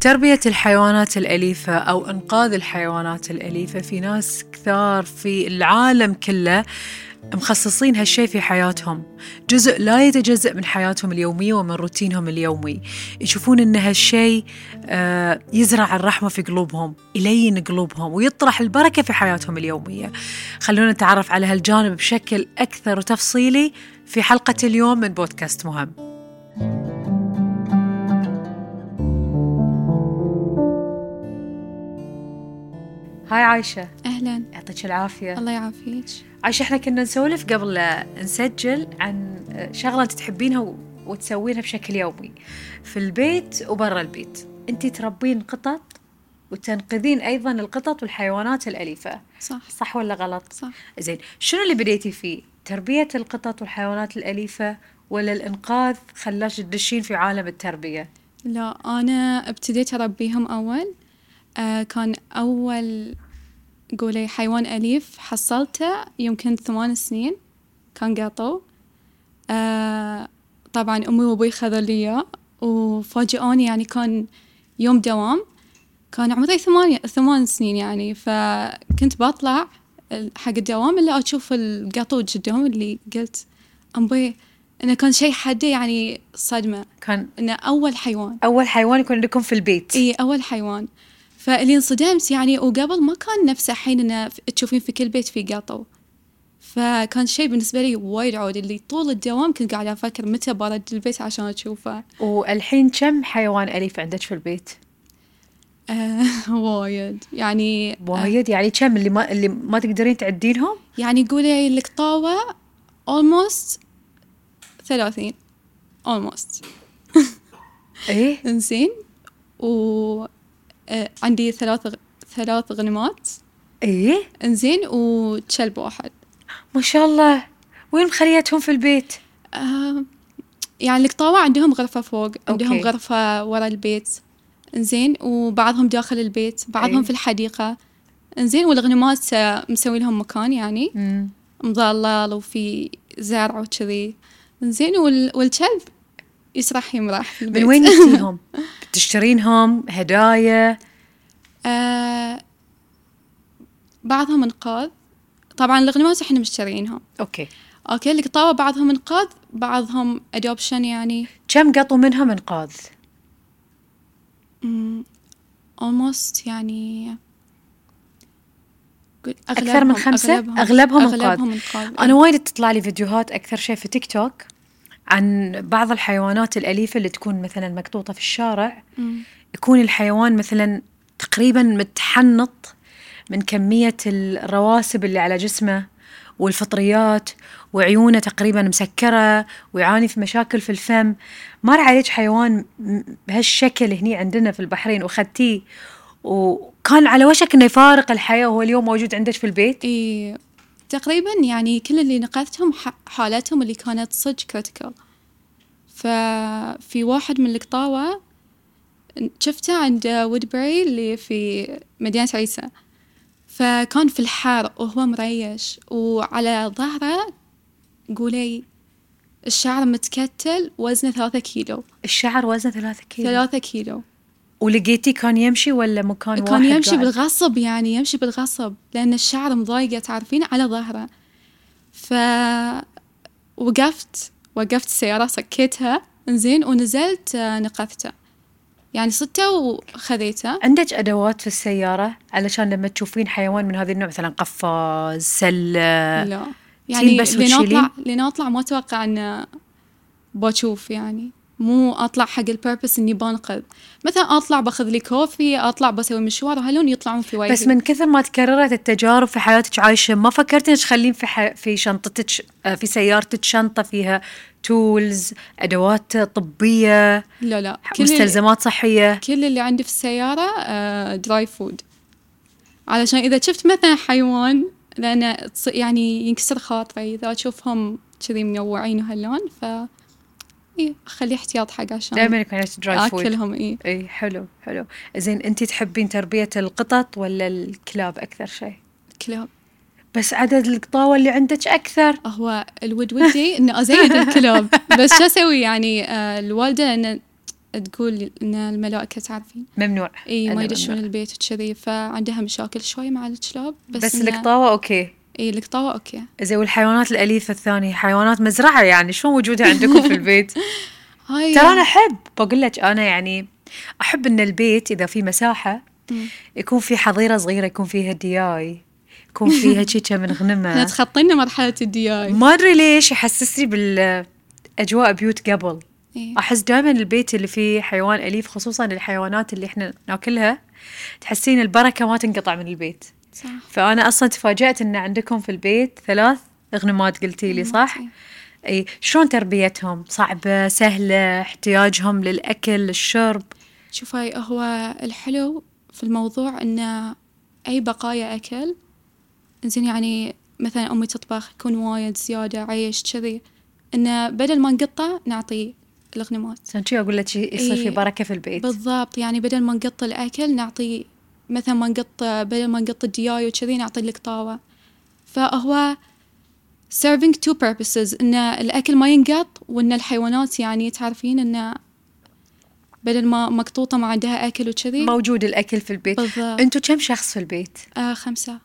تربية الحيوانات الأليفة أو إنقاذ الحيوانات الأليفة في ناس كثار في العالم كله مخصصين هالشيء في حياتهم جزء لا يتجزأ من حياتهم اليومية ومن روتينهم اليومي يشوفون أن هالشيء آه، يزرع الرحمة في قلوبهم يلين قلوبهم ويطرح البركة في حياتهم اليومية خلونا نتعرف على هالجانب بشكل أكثر وتفصيلي في حلقة اليوم من بودكاست مهم هاي عايشة اهلا يعطيك العافية الله يعافيك عايشة احنا كنا نسولف قبل لا نسجل عن شغلة انت تحبينها و- وتسوينها بشكل يومي في البيت وبرا البيت انت تربين قطط وتنقذين ايضا القطط والحيوانات الاليفه صح صح ولا غلط صح زين شنو اللي بديتي فيه تربيه القطط والحيوانات الاليفه ولا الانقاذ خلاش تدشين في عالم التربيه لا انا ابتديت اربيهم اول آه كان اول قولي حيوان اليف حصلته يمكن ثمان سنين كان قطو آه طبعا امي وابوي خذوا لي اياه وفاجئوني يعني كان يوم دوام كان عمري ثمان ثمان سنين يعني فكنت بطلع حق الدوام الا اشوف القطو جدهم اللي قلت امبي انه كان شيء حده يعني صدمه كان انه اول حيوان اول حيوان يكون عندكم في البيت اي اول حيوان فاللي انصدمت يعني وقبل ما كان نفسه الحين انه ف- تشوفين في كل بيت في قطو فكان شيء بالنسبه لي وايد عود اللي طول الدوام كنت قاعده افكر متى برد البيت عشان اشوفه والحين كم حيوان اليف عندك في البيت آه وايد يعني وايد يعني كم اللي ما اللي ما تقدرين تعدينهم يعني قولي القطاوه almost 30 almost ايه انزين و آه عندي ثلاث غ- ثلاث غنمات ايه انزين وكلب واحد ما شاء الله وين مخليتهم في البيت آه، يعني القطاوة عندهم غرفة فوق عندهم أوكي. غرفة ورا البيت زين وبعضهم داخل البيت بعضهم أي. في الحديقة زين والغنمات آه، مسوي لهم مكان يعني مظلل وفي زرع وكذي زين وال... والكلب يسرح يمرح في من البيت. وين جبتيهم تشترينهم هدايا آه بعضهم انقاذ طبعا الغنمات احنا مشترينهم اوكي اوكي القطاوة بعضهم انقاذ بعضهم ادوبشن يعني كم قطوا منهم انقاذ مم، almost يعني قل- اكثر من خمسه أغلبهم, اغلبهم, انقاذ أغلبهم انقاذ انا وايد تطلع لي فيديوهات اكثر شيء في تيك توك عن بعض الحيوانات الاليفه اللي تكون مثلا مقطوطه في الشارع مم. يكون الحيوان مثلا تقريبا متحنط من كمية الرواسب اللي على جسمه والفطريات وعيونه تقريبا مسكرة ويعاني في مشاكل في الفم مر عليك حيوان م- بهالشكل هني عندنا في البحرين وخدتيه وكان على وشك انه يفارق الحياة وهو اليوم موجود عندك في البيت إي تقريبا يعني كل اللي نقذتهم ح- حالتهم اللي كانت صدق كريتيكال ففي واحد من القطاوة شفته عند وودبري اللي في مدينة عيسى فكان في الحار وهو مريش وعلى ظهره قولي الشعر متكتل وزنه ثلاثة كيلو الشعر وزنه ثلاثة كيلو ثلاثة كيلو ولقيتي كان يمشي ولا مكان واحد كان يمشي قاعد؟ بالغصب يعني يمشي بالغصب لأن الشعر مضايقة تعرفين على ظهره ف وقفت وقفت السيارة سكيتها انزين ونزلت آه، نقذته يعني صدته وخذيته عندك ادوات في السياره علشان لما تشوفين حيوان من هذا النوع مثلا قفاز سله لا تين يعني آه. بس لين وتشيلين؟ اطلع لين اطلع ما اتوقع ان بشوف يعني مو اطلع حق البيربس اني بنقذ مثلا اطلع باخذ لي كوفي اطلع بسوي مشوار وهلون يطلعون في وجهي بس من كثر ما تكررت التجارب في حياتك عايشه ما فكرتي انك تخلين في ح... في شنطتك آه، في سيارتك شنطه فيها تولز ادوات طبيه لا لا مستلزمات صحيه كل اللي عندي في السيارة دراي فود علشان إذا شفت مثلا حيوان لأن تص- يعني ينكسر خاطري إذا أشوفهم كذي منوعين وهاللون ف إيه أخلي احتياط حق عشان دائما يكون عندك دراي فود أكلهم إيه اي حلو حلو زين انت تحبين تربيه القطط ولا الكلاب اكثر شيء الكلاب بس عدد القطاوه اللي عندك اكثر هو الود ودي إنه أزين الكلاب بس شو أسوي يعني آه، الوالدة إن تقول ان الملائكه تعرفين ممنوع اي أنا ما يدشون ممنوع. البيت وكذي فعندها مشاكل شوي مع الكلاب بس, بس إنه- القطاوه اوكي اي القطاوه اوكي زي والحيوانات الاليفه الثانيه حيوانات مزرعه يعني شلون وجودها عندكم في البيت إيه. هاي ترى انا احب بقول لك انا يعني احب ان البيت اذا في مساحه مم. يكون في حظيره صغيره يكون فيها دياي يكون فيها شيشه من احنا غنمه تخطينا مرحله الدياي ما ادري ليش يحسسني بالاجواء بيوت قبل إيه. احس دائما البيت اللي فيه حيوان اليف خصوصا الحيوانات اللي احنا ناكلها تحسين البركه ما تنقطع من البيت صح فانا اصلا تفاجات ان عندكم في البيت ثلاث غنمات قلتي لي صح إيه. اي شلون تربيتهم صعبه سهله احتياجهم للاكل الشرب شوفي هو الحلو في الموضوع إنه أي بقايا أكل زين يعني مثلا أمي تطبخ يكون وايد زيادة عيش كذي إنه بدل ما نقطع نعطي الغنمات عشان شي اقول لك يصير في إي. بركه في البيت بالضبط يعني بدل ما نقط الأكل نعطي مثلا ما نقط بدل ما نقط الدياي وكذي نعطي القطاوة فهو serving two purposes إن الأكل ما ينقط وإن الحيوانات يعني تعرفين إنه بدل ما مقطوطة ما عندها أكل وكذي موجود الاكل في البيت بالضبط. انتم كم شخص في البيت آه خمسة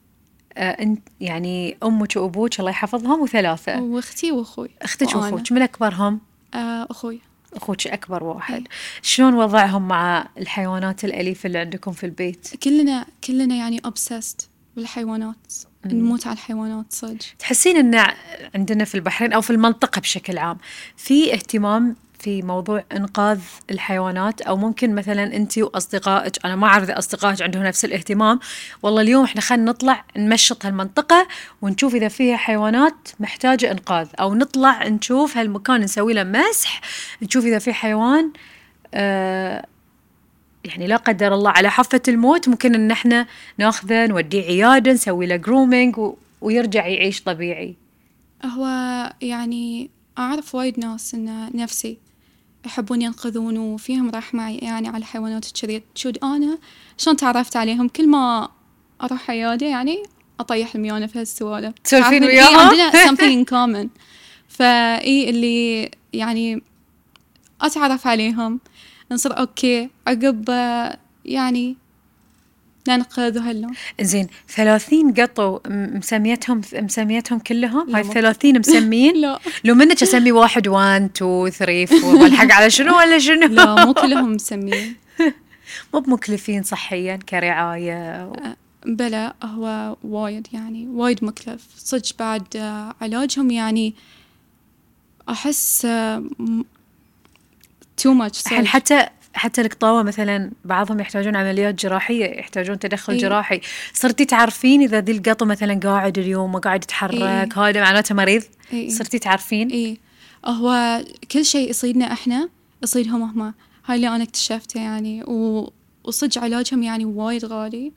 آه انت يعني امك وابوك الله يحفظهم وثلاثه واختي واخوي اختك وأنا. واخوك من اكبرهم آه اخوي اخوك اكبر واحد إي. شلون وضعهم مع الحيوانات الاليفه اللي عندكم في البيت كلنا كلنا يعني obsessed بالحيوانات نموت على الحيوانات صدق تحسين ان ع- عندنا في البحرين او في المنطقه بشكل عام في اهتمام في موضوع انقاذ الحيوانات او ممكن مثلا انت واصدقائك انا ما اعرف اذا اصدقائك عندهم نفس الاهتمام والله اليوم احنا خلينا نطلع نمشط هالمنطقه ونشوف اذا فيها حيوانات محتاجه انقاذ او نطلع نشوف هالمكان نسوي له مسح نشوف اذا في حيوان آه يعني لا قدر الله على حافة الموت ممكن ان احنا ناخذه نوديه عيادة نسوي له جرومينج و... ويرجع يعيش طبيعي هو يعني اعرف وايد ناس انه نفسي يحبون ينقذون وفيهم رحمة يعني على الحيوانات كذي شود انا شلون تعرفت عليهم كل ما اروح عيادة يعني اطيح الميانة في هالسوالف تسولفين تعرفين؟ إي، وياها؟ عندنا something in common فاي اللي يعني اتعرف عليهم نصير اوكي عقب آه، يعني ننقذ وهاللون زين 30 قطو م- مسميتهم مسميتهم كلهم لا، هاي مو- 30 مسمين لا لو منك اسمي واحد 1 2 3 4 والحق على شنو ولا شنو لا مو كلهم مسمين مو بمكلفين صحيا كرعايه بلى هو وايد يعني وايد مكلف صدق بعد آه، علاجهم يعني أحس آه، تو ماتش الحين حتى حتى القطاوه مثلا بعضهم يحتاجون عمليات جراحيه يحتاجون تدخل إي. جراحي صرتي تعرفين اذا ذي القطو مثلا قاعد اليوم ما قاعد يتحرك هذا معناته مريض إي. صرتي تعرفين إيه هو كل شيء يصيدنا إحنا يصيدهم هما هاي اللي أنا اكتشفته يعني و... وصدق علاجهم يعني وايد غالي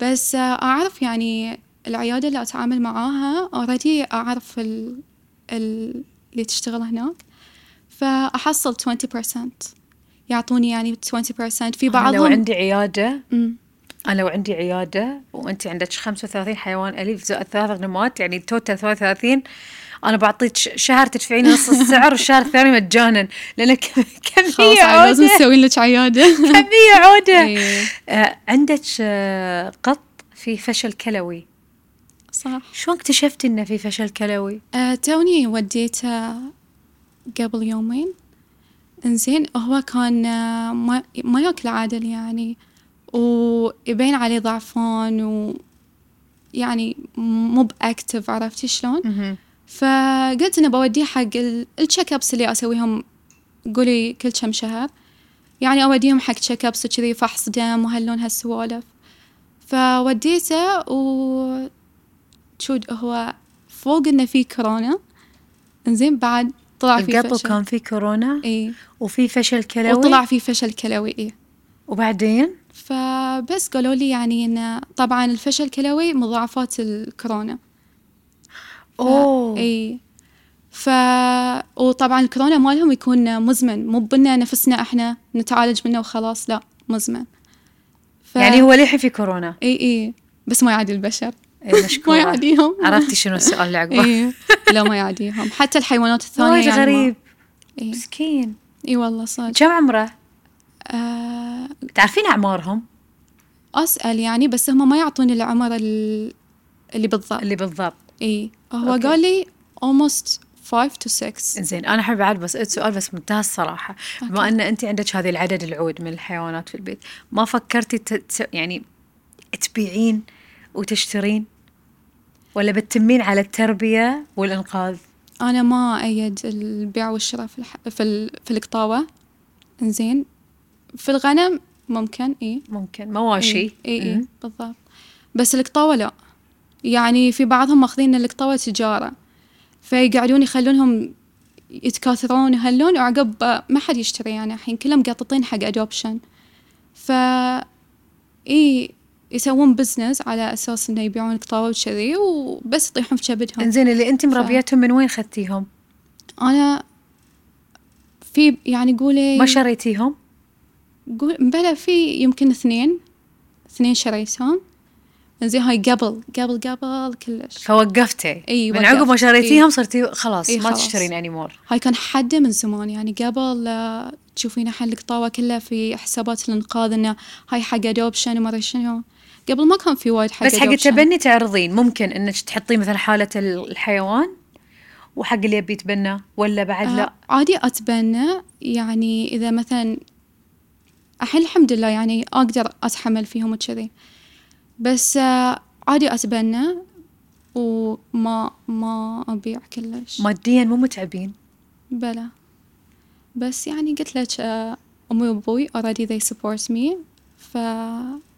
بس آه، أعرف يعني العيادة اللي أتعامل معاها اوريدي أعرف ال... ال... اللي تشتغل هناك فأحصل 20% يعطوني يعني 20% في أنا لو بعضهم عندي عياده مم. انا لو عندي عياده وانت عندك 35 حيوان اليف زائد ثلاث غنمات يعني توتال 33 انا بعطيك ش- شهر تدفعين نص السعر والشهر الثاني مجانا لان كم- خلاص كميه يعني لازم عوده نسوي لك عيادة كميه عوده إيه، آه، عندك آه، قط في فشل كلوي صح شو اكتشفتي انه في فشل كلوي آه، توني وديته قبل يومين انزين هو كان آه، ما, ما ياكل عادل يعني ويبين عليه ضعفان و يعني مو باكتف عرفتي شلون فقلت انه بوديه حق التشيك ابس اللي اسويهم قولي كل كم شهر يعني اوديهم حق تشيك ابس وكذي فحص دم وهاللون هالسوالف فوديته و شود هو فوق انه في كورونا انزين بعد طلع في القطو فشل كان في كورونا اي وفي فشل كلوي وطلع في فشل كلوي اي وبعدين فبس قالوا لي يعني انه طبعا الفشل الكلوي مضاعفات الكورونا اوه اي ف وطبعا الكورونا مالهم يكون مزمن مو بنا نفسنا احنا نتعالج منه وخلاص لا مزمن ف... يعني هو للحين في كورونا اي اي بس ما يعادي البشر إي، ما مشكوره يعاديهم عرفتي شنو السؤال اللي عقبه اي لا ما يعاديهم حتى الحيوانات الثانيه وايد يعني ما- غريب اي مسكين اي والله صدق إيه. كم عمره؟ آه، تعرفين أعمارهم أسأل يعني بس هم ما يعطوني العمر ال- اللي بالضبط اللي بالضبط إي هو أوكي. قال لي almost 5 to 6 زين أنا أحب بعد بسأل سؤال بس منتهى الصراحة بما أن أنت عندك هذا العدد العود من الحيوانات في البيت ما فكرتي ت... ت- يعني تبيعين وتشترين ولا بتتمين على التربية والإنقاذ أنا ما أيد البيع والشراء في الح... في, ال... في القطاوة إنزين في الغنم ممكن إي ممكن إيه، مواشي اي اي مم. بالضبط بس القطاوه لا يعني في بعضهم ماخذين القطاوه تجاره فيقعدون يخلونهم يتكاثرون يهلون وعقب ما حد يشتري يعني الحين كلهم مقططين حق ادوبشن ف اي يسوون بزنس على اساس انه يبيعون قطاوه وشذي وبس يطيحون في كبدهم انزين اللي انت مربيتهم من وين خدتيهم؟ انا في يعني قولي ما شريتيهم؟ قول بلا في يمكن اثنين اثنين شريتهم زين هاي قبل قبل قبل كلش فوقفتي إي، من إيه، وقفت. عقب ما شريتيهم صرتي خلاص إي، ما خلاص. تشترين انيمور هاي كان حده من زمان يعني قبل لا تشوفين الحين القطاوة كلها في حسابات الانقاذ انه هاي حق ادوبشن وما ادري شنو قبل ما كان في وايد حق بس حق adoption. التبني تعرضين ممكن انك تحطين مثلا حاله ال- الحيوان وحق اللي يبي يتبنى ولا بعد آه، لا عادي اتبنى يعني اذا مثلا الحين الحمد لله يعني اقدر اتحمل فيهم وكذي بس آه، عادي اتبنى وما ما ابيع كلش ماديا مو متعبين بلا بس يعني قلت لك آه، امي وابوي already they support me ف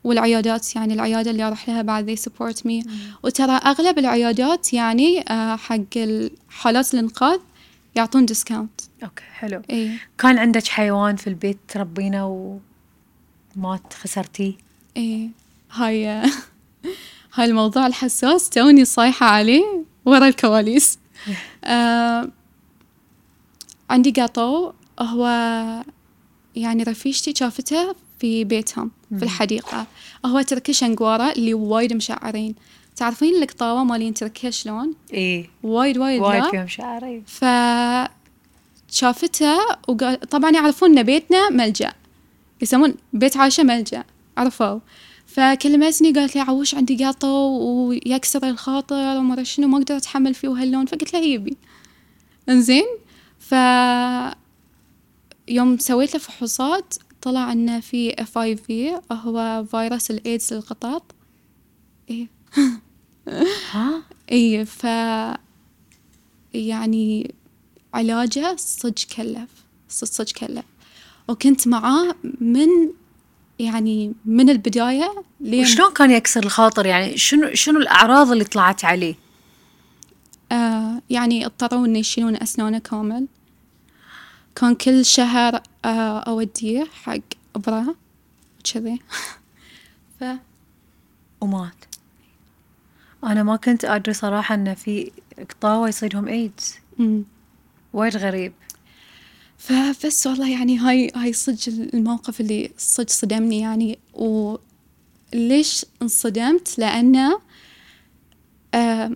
والعيادات يعني العياده اللي اروح لها بعد they support me وترى اغلب العيادات يعني آه، حق ال- حالات الانقاذ يعطون إيه. ديسكاونت اوكي حلو اي كان عندك حيوان في البيت تربينه ومات خسرتيه ايه هاي هاي الموضوع الحساس توني صايحة عليه ورا الكواليس آه عندي قطو هو يعني رفيجتي شافته في بيتهم في الحديقة هو تركيش انقوارة اللي وايد مشعرين تعرفين القطاوة مالين تركيا شلون اي وايد وايد, إيه، وايد لا. فيهم شعر إيه. اي ف شافته وقال طبعا يعرفون ان بيتنا ملجا يسمون بيت عايشه ملجا عرفوا فكلمتني قالت لي عوش عندي قطو ويكسر الخاطر وما أدري شنو ما اقدر اتحمل فيه وهاللون فقلت لها يبي انزين ف يوم سويت له فحوصات طلع انه في اف اي في هو فيروس الايدز للقطط ايه ها اي إيه، ف يعني علاجه صدق كلف صدق صدق كلف وكنت معاه من يعني من البداية لين وشلون كان يكسر الخاطر يعني شنو شنو الاعراض اللي طلعت عليه آه يعني اضطروا إن يشيلون أسنانه كامل كان كل شهر آه أوديه حق إبرة وكذي ف ومات انا ما كنت ادري صراحه ان في قطاوه يصيدهم ايدز مم. وايد غريب فبس والله يعني هاي هاي صدق الموقف اللي صدق صدمني يعني وليش انصدمت لأنه آه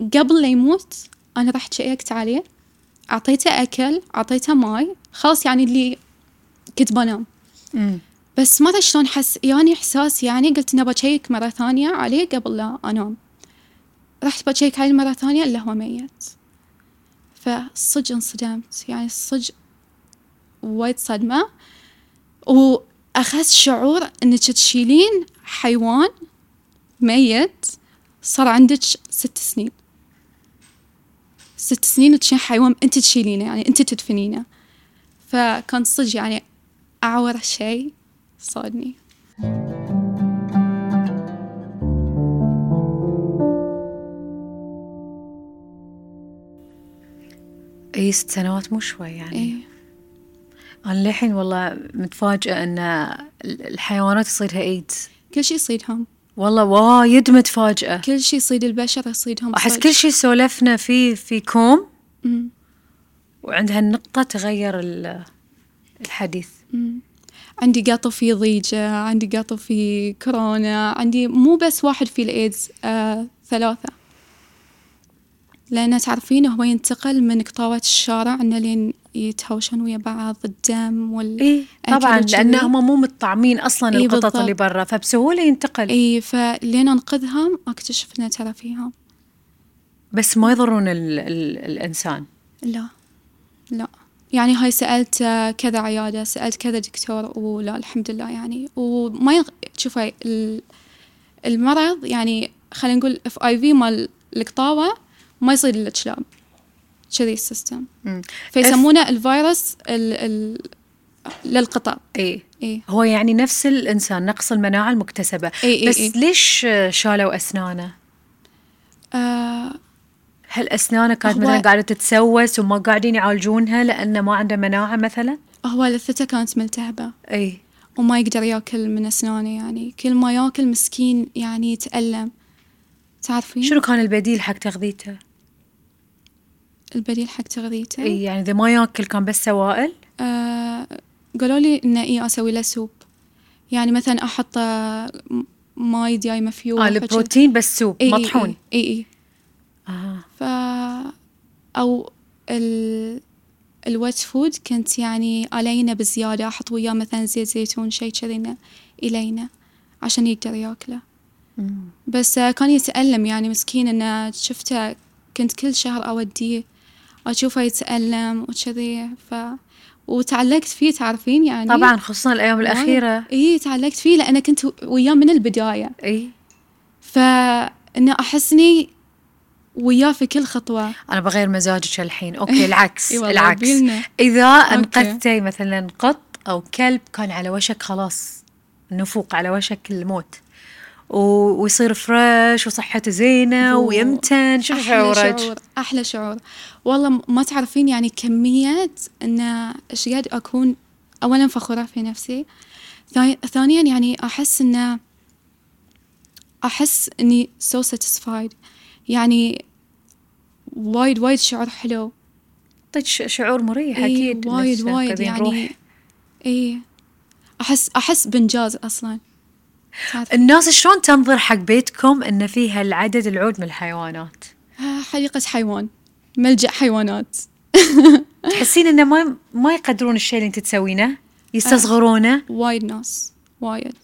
قبل لا يموت أنا رحت شيكت عليه أعطيته أكل أعطيته ماي خلاص يعني اللي كنت بنام بس ما أدري شلون حس يعني إحساس يعني قلت إنه بشيك مرة ثانية عليه قبل لا أنام رحت بشيك عليه مرة ثانية إلا هو ميت فصج انصدمت يعني صج وايد صدمة وأخذت شعور إنك تشيلين حيوان ميت صار عندك ست سنين ست سنين تشيلين حيوان أنت تشيلينه يعني أنت تدفنينه فكان صج يعني أعور شيء صادني اي إيه، ست سنوات مو شوي يعني إيه انا للحين والله متفاجئه ان ال- الحيوانات يصيدها ايدز كل شيء يصيدهم والله وايد متفاجئه كل شيء يصيد البشر يصيدهم احس صج. كل شيء سولفنا فيه في كوم أمم. وعندها النقطه تغير ال- الحديث عندي قطو في ضيجة عندي قطو في كورونا عندي مو بس واحد في الإيدز آه، ثلاثة لأن تعرفين هو ينتقل من قطاوة الشارع إنه لين يتهاوشون ويا بعض الدم وال اي طبعا أكل لان وشذي. هم مو متطعمين اصلا إي القطط بالضبط. اللي برا فبسهوله ينتقل اي إيه، فلين انقذهم اكتشف ان ترى فيهم بس ما يضرون ال ال الانسان لا لا يعني هاي سألت آه، كذا عيادة سألت كذا دكتور ولا الحمد لله يعني وما يغ... شوفي ال- المرض يعني خلينا نقول اف اي في مال القطاوة ما يصيد الا كلاب كذي السيستم فيسمونه الفيروس ال... ال... إيه. للقطط اي اي هو يعني نفس الانسان نقص المناعه المكتسبه إي إي بس إي. ليش آه، شالوا اسنانه آه هل اسنانه كانت هو- مثلا قاعده تتسوس وما قاعدين يعالجونها لانه ما عنده مناعه مثلا هو لثته كانت ملتهبة اي وما يقدر ياكل من اسنانه يعني كل ما ياكل مسكين يعني يتألم تعرفين شنو كان البديل حق تغذيته البديل حق تغذيته اي يعني اذا ما ياكل كان بس سوائل آه قالوا لي انه اي اسوي له سوب يعني مثلا احط آه، م- ماي دياي مفيوح آه البروتين بس سوب إي إي مطحون اي اي, إي. آه. ف او ال الويت فود كنت يعني ألينه بزيادة أحط وياه مثلا زيت زيتون شيء كذي إنه يلينه عشان يقدر ياكله مم. بس آه، كان يتألم يعني مسكين إنه شفته كنت كل شهر أوديه أشوفه يتألم وكذي ف وتعلقت فيه تعرفين يعني طبعا خصوصا الايام الاخيره إي تعلقت فيه لأن كنت وياه من البداية اي فإنه أحسني وياه في كل خطوة انا بغير مزاجك الحين اوكي العكس إي والله العكس بيلنا. اذا انقذتي مثلا قط او كلب كان على وشك خلاص النفوق على وشك الموت و... ويصير فريش وصحته زينه و- ويمتن شنو أحلى شعورك؟ شعور أحلى شعور والله م- ما تعرفين يعني كمية إنه إيش قد أكون أولا فخورة في نفسي ثاني- ثانيا يعني أحس إنه أحس إني so satisfied يعني وايد وايد شعور حلو طيب، يعطيك ش- شعور مريح إي، اكيد إنك وايد وايد تنقذين يعني روح. إي أحس أحس بإنجاز أصلا تعرف- الناس شلون تنظر حق بيتكم ان فيها العدد العود من الحيوانات؟ آه، حديقة حيوان ملجأ حيوانات تحسين انه ما ما يقدرون الشيء اللي انت تسوينه؟ يستصغرونه؟ وايد ناس وايد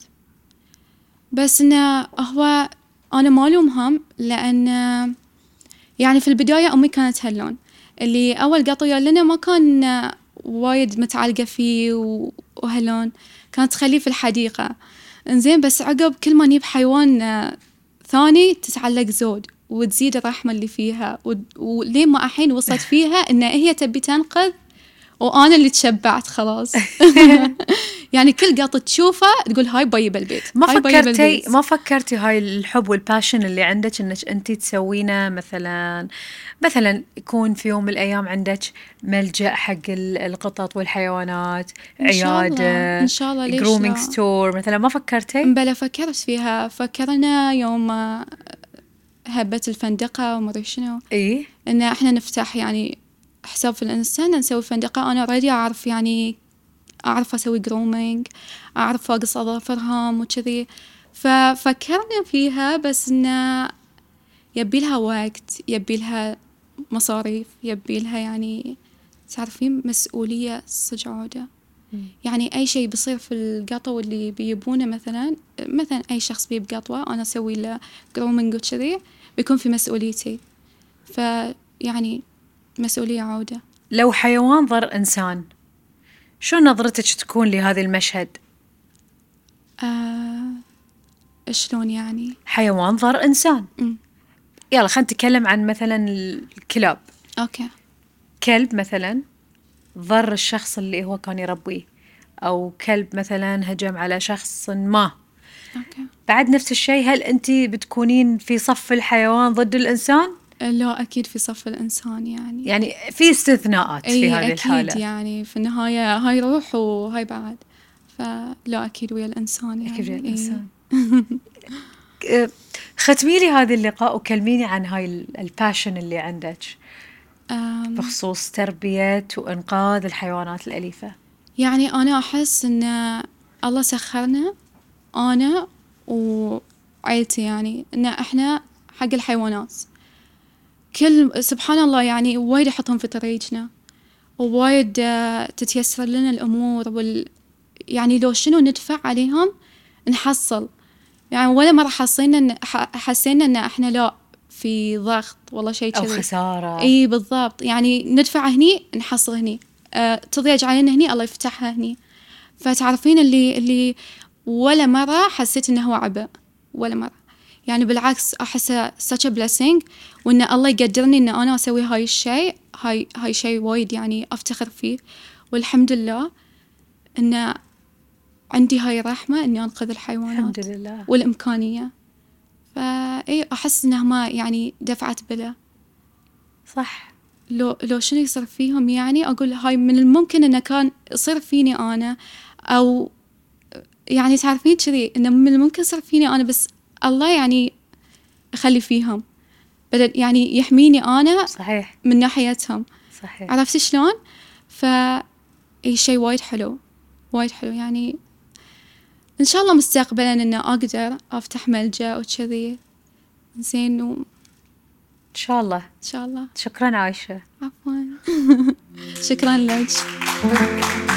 بس انه هو انا ما الومهم لان يعني في البدايه امي كانت هاللون اللي اول قط ويا لنا ما كان وايد متعلقه فيه و- وهاللون كانت تخليه في الحديقه انزين بس عقب كل ما نجيب حيوان آه، ثاني تتعلق زود وتزيد الرحمه اللي فيها و- ولين ما الحين وصلت فيها ان هي تبي تنقذ وانا اللي تشبعت خلاص يعني كل قط تشوفه تقول هاي بيي بالبيت ما هاي طيب بيي فكرتي بالبيت. ما فكرتي هاي الحب والباشن اللي عندك انك انت تسوينه مثلا مثلا يكون في يوم من الايام عندك ملجا حق ال- القطط والحيوانات إن شاء الله، عياده إن شاء الله، ليش جرومينج لا؟ ستور مثلا ما فكرتي؟ بلا فكرت فيها فكرنا يوم آه، هبت الفندقة ومدري شنو اي إن إحنا نفتح يعني حساب في الانستا إن نسوي فندقة أنا اوريدي أعرف يعني أعرف أسوي جرومينج أعرف أقص أظافرهم وكذي ففكرنا فيها بس إنه يبيلها وقت يبيلها مصاريف يبيلها يعني تعرفين مسؤولية صج عودة يعني أي شيء بيصير في القطو اللي بيجيبونه مثلا مثلا أي شخص بيجيب قطوة أنا أسوي له جرومينج وكذي بيكون في مسؤوليتي فيعني مسؤولية عودة لو حيوان ضر انسان شو نظرتك تكون لهذا المشهد؟ آه شلون يعني حيوان ضر انسان أمم. يلا خلينا نتكلم عن مثلا الكلاب أوكي كلب مثلا ضر الشخص اللي هو كان يربيه او كلب مثلا هجم على شخص ما أوكي بعد نفس الشيء هل انت بتكونين في صف الحيوان ضد الانسان لا أكيد في صف الإنسان يعني يعني في استثناءات في هذه أكيد الحاله يعني في النهاية هاي روح وهاي بعد فلا أكيد ويا الإنسان يعني أكيد إيه. الانسان أه، ختمي لي هذا اللقاء وكلميني عن هاي ال- الباشن اللي عندك آم، بخصوص تربيه وانقاذ الحيوانات الاليفه يعني أنا أحس إن الله سخرنا أنا وعيلتي يعني إن إحنا حق الحيوانات كل سبحان الله يعني وايد أحطهم في طريقنا ووايد آه، تتيسر لنا الأمور وال يعني لو شنو ندفع عليهم نحصل يعني ولا مرة حسينا إن ح- حسينا إن إحنا لا في ضغط والله شيء او كذي. خساره اي بالضبط يعني ندفع هني نحصل هني أه تضيج علينا هني الله يفتحها هني فتعرفين اللي اللي ولا مرة حسيت انه هو عبء ولا مرة يعني بالعكس احسه such a blessing وان الله يقدرني ان انا اسوي هاي الشيء هاي هاي شيء وايد يعني افتخر فيه والحمد لله ان عندي هاي الرحمة اني انقذ الحيوانات الحمد لله والامكانية فاي احس انها ما يعني دفعت بله صح لو لو شنو يصير فيهم يعني اقول هاي من الممكن انه كان يصير فيني انا او يعني تعرفين كذي انه من الممكن يصير فيني انا بس الله يعني يخلي فيهم بدل يعني يحميني انا صحيح من ناحيتهم صحيح عرفتي شلون؟ ف اي شيء وايد حلو وايد حلو يعني ان شاء الله مستقبلا انه اقدر افتح ملجا وكذي زين وان ان شاء الله شاء الله شكرا عايشه عفوا شكرا لك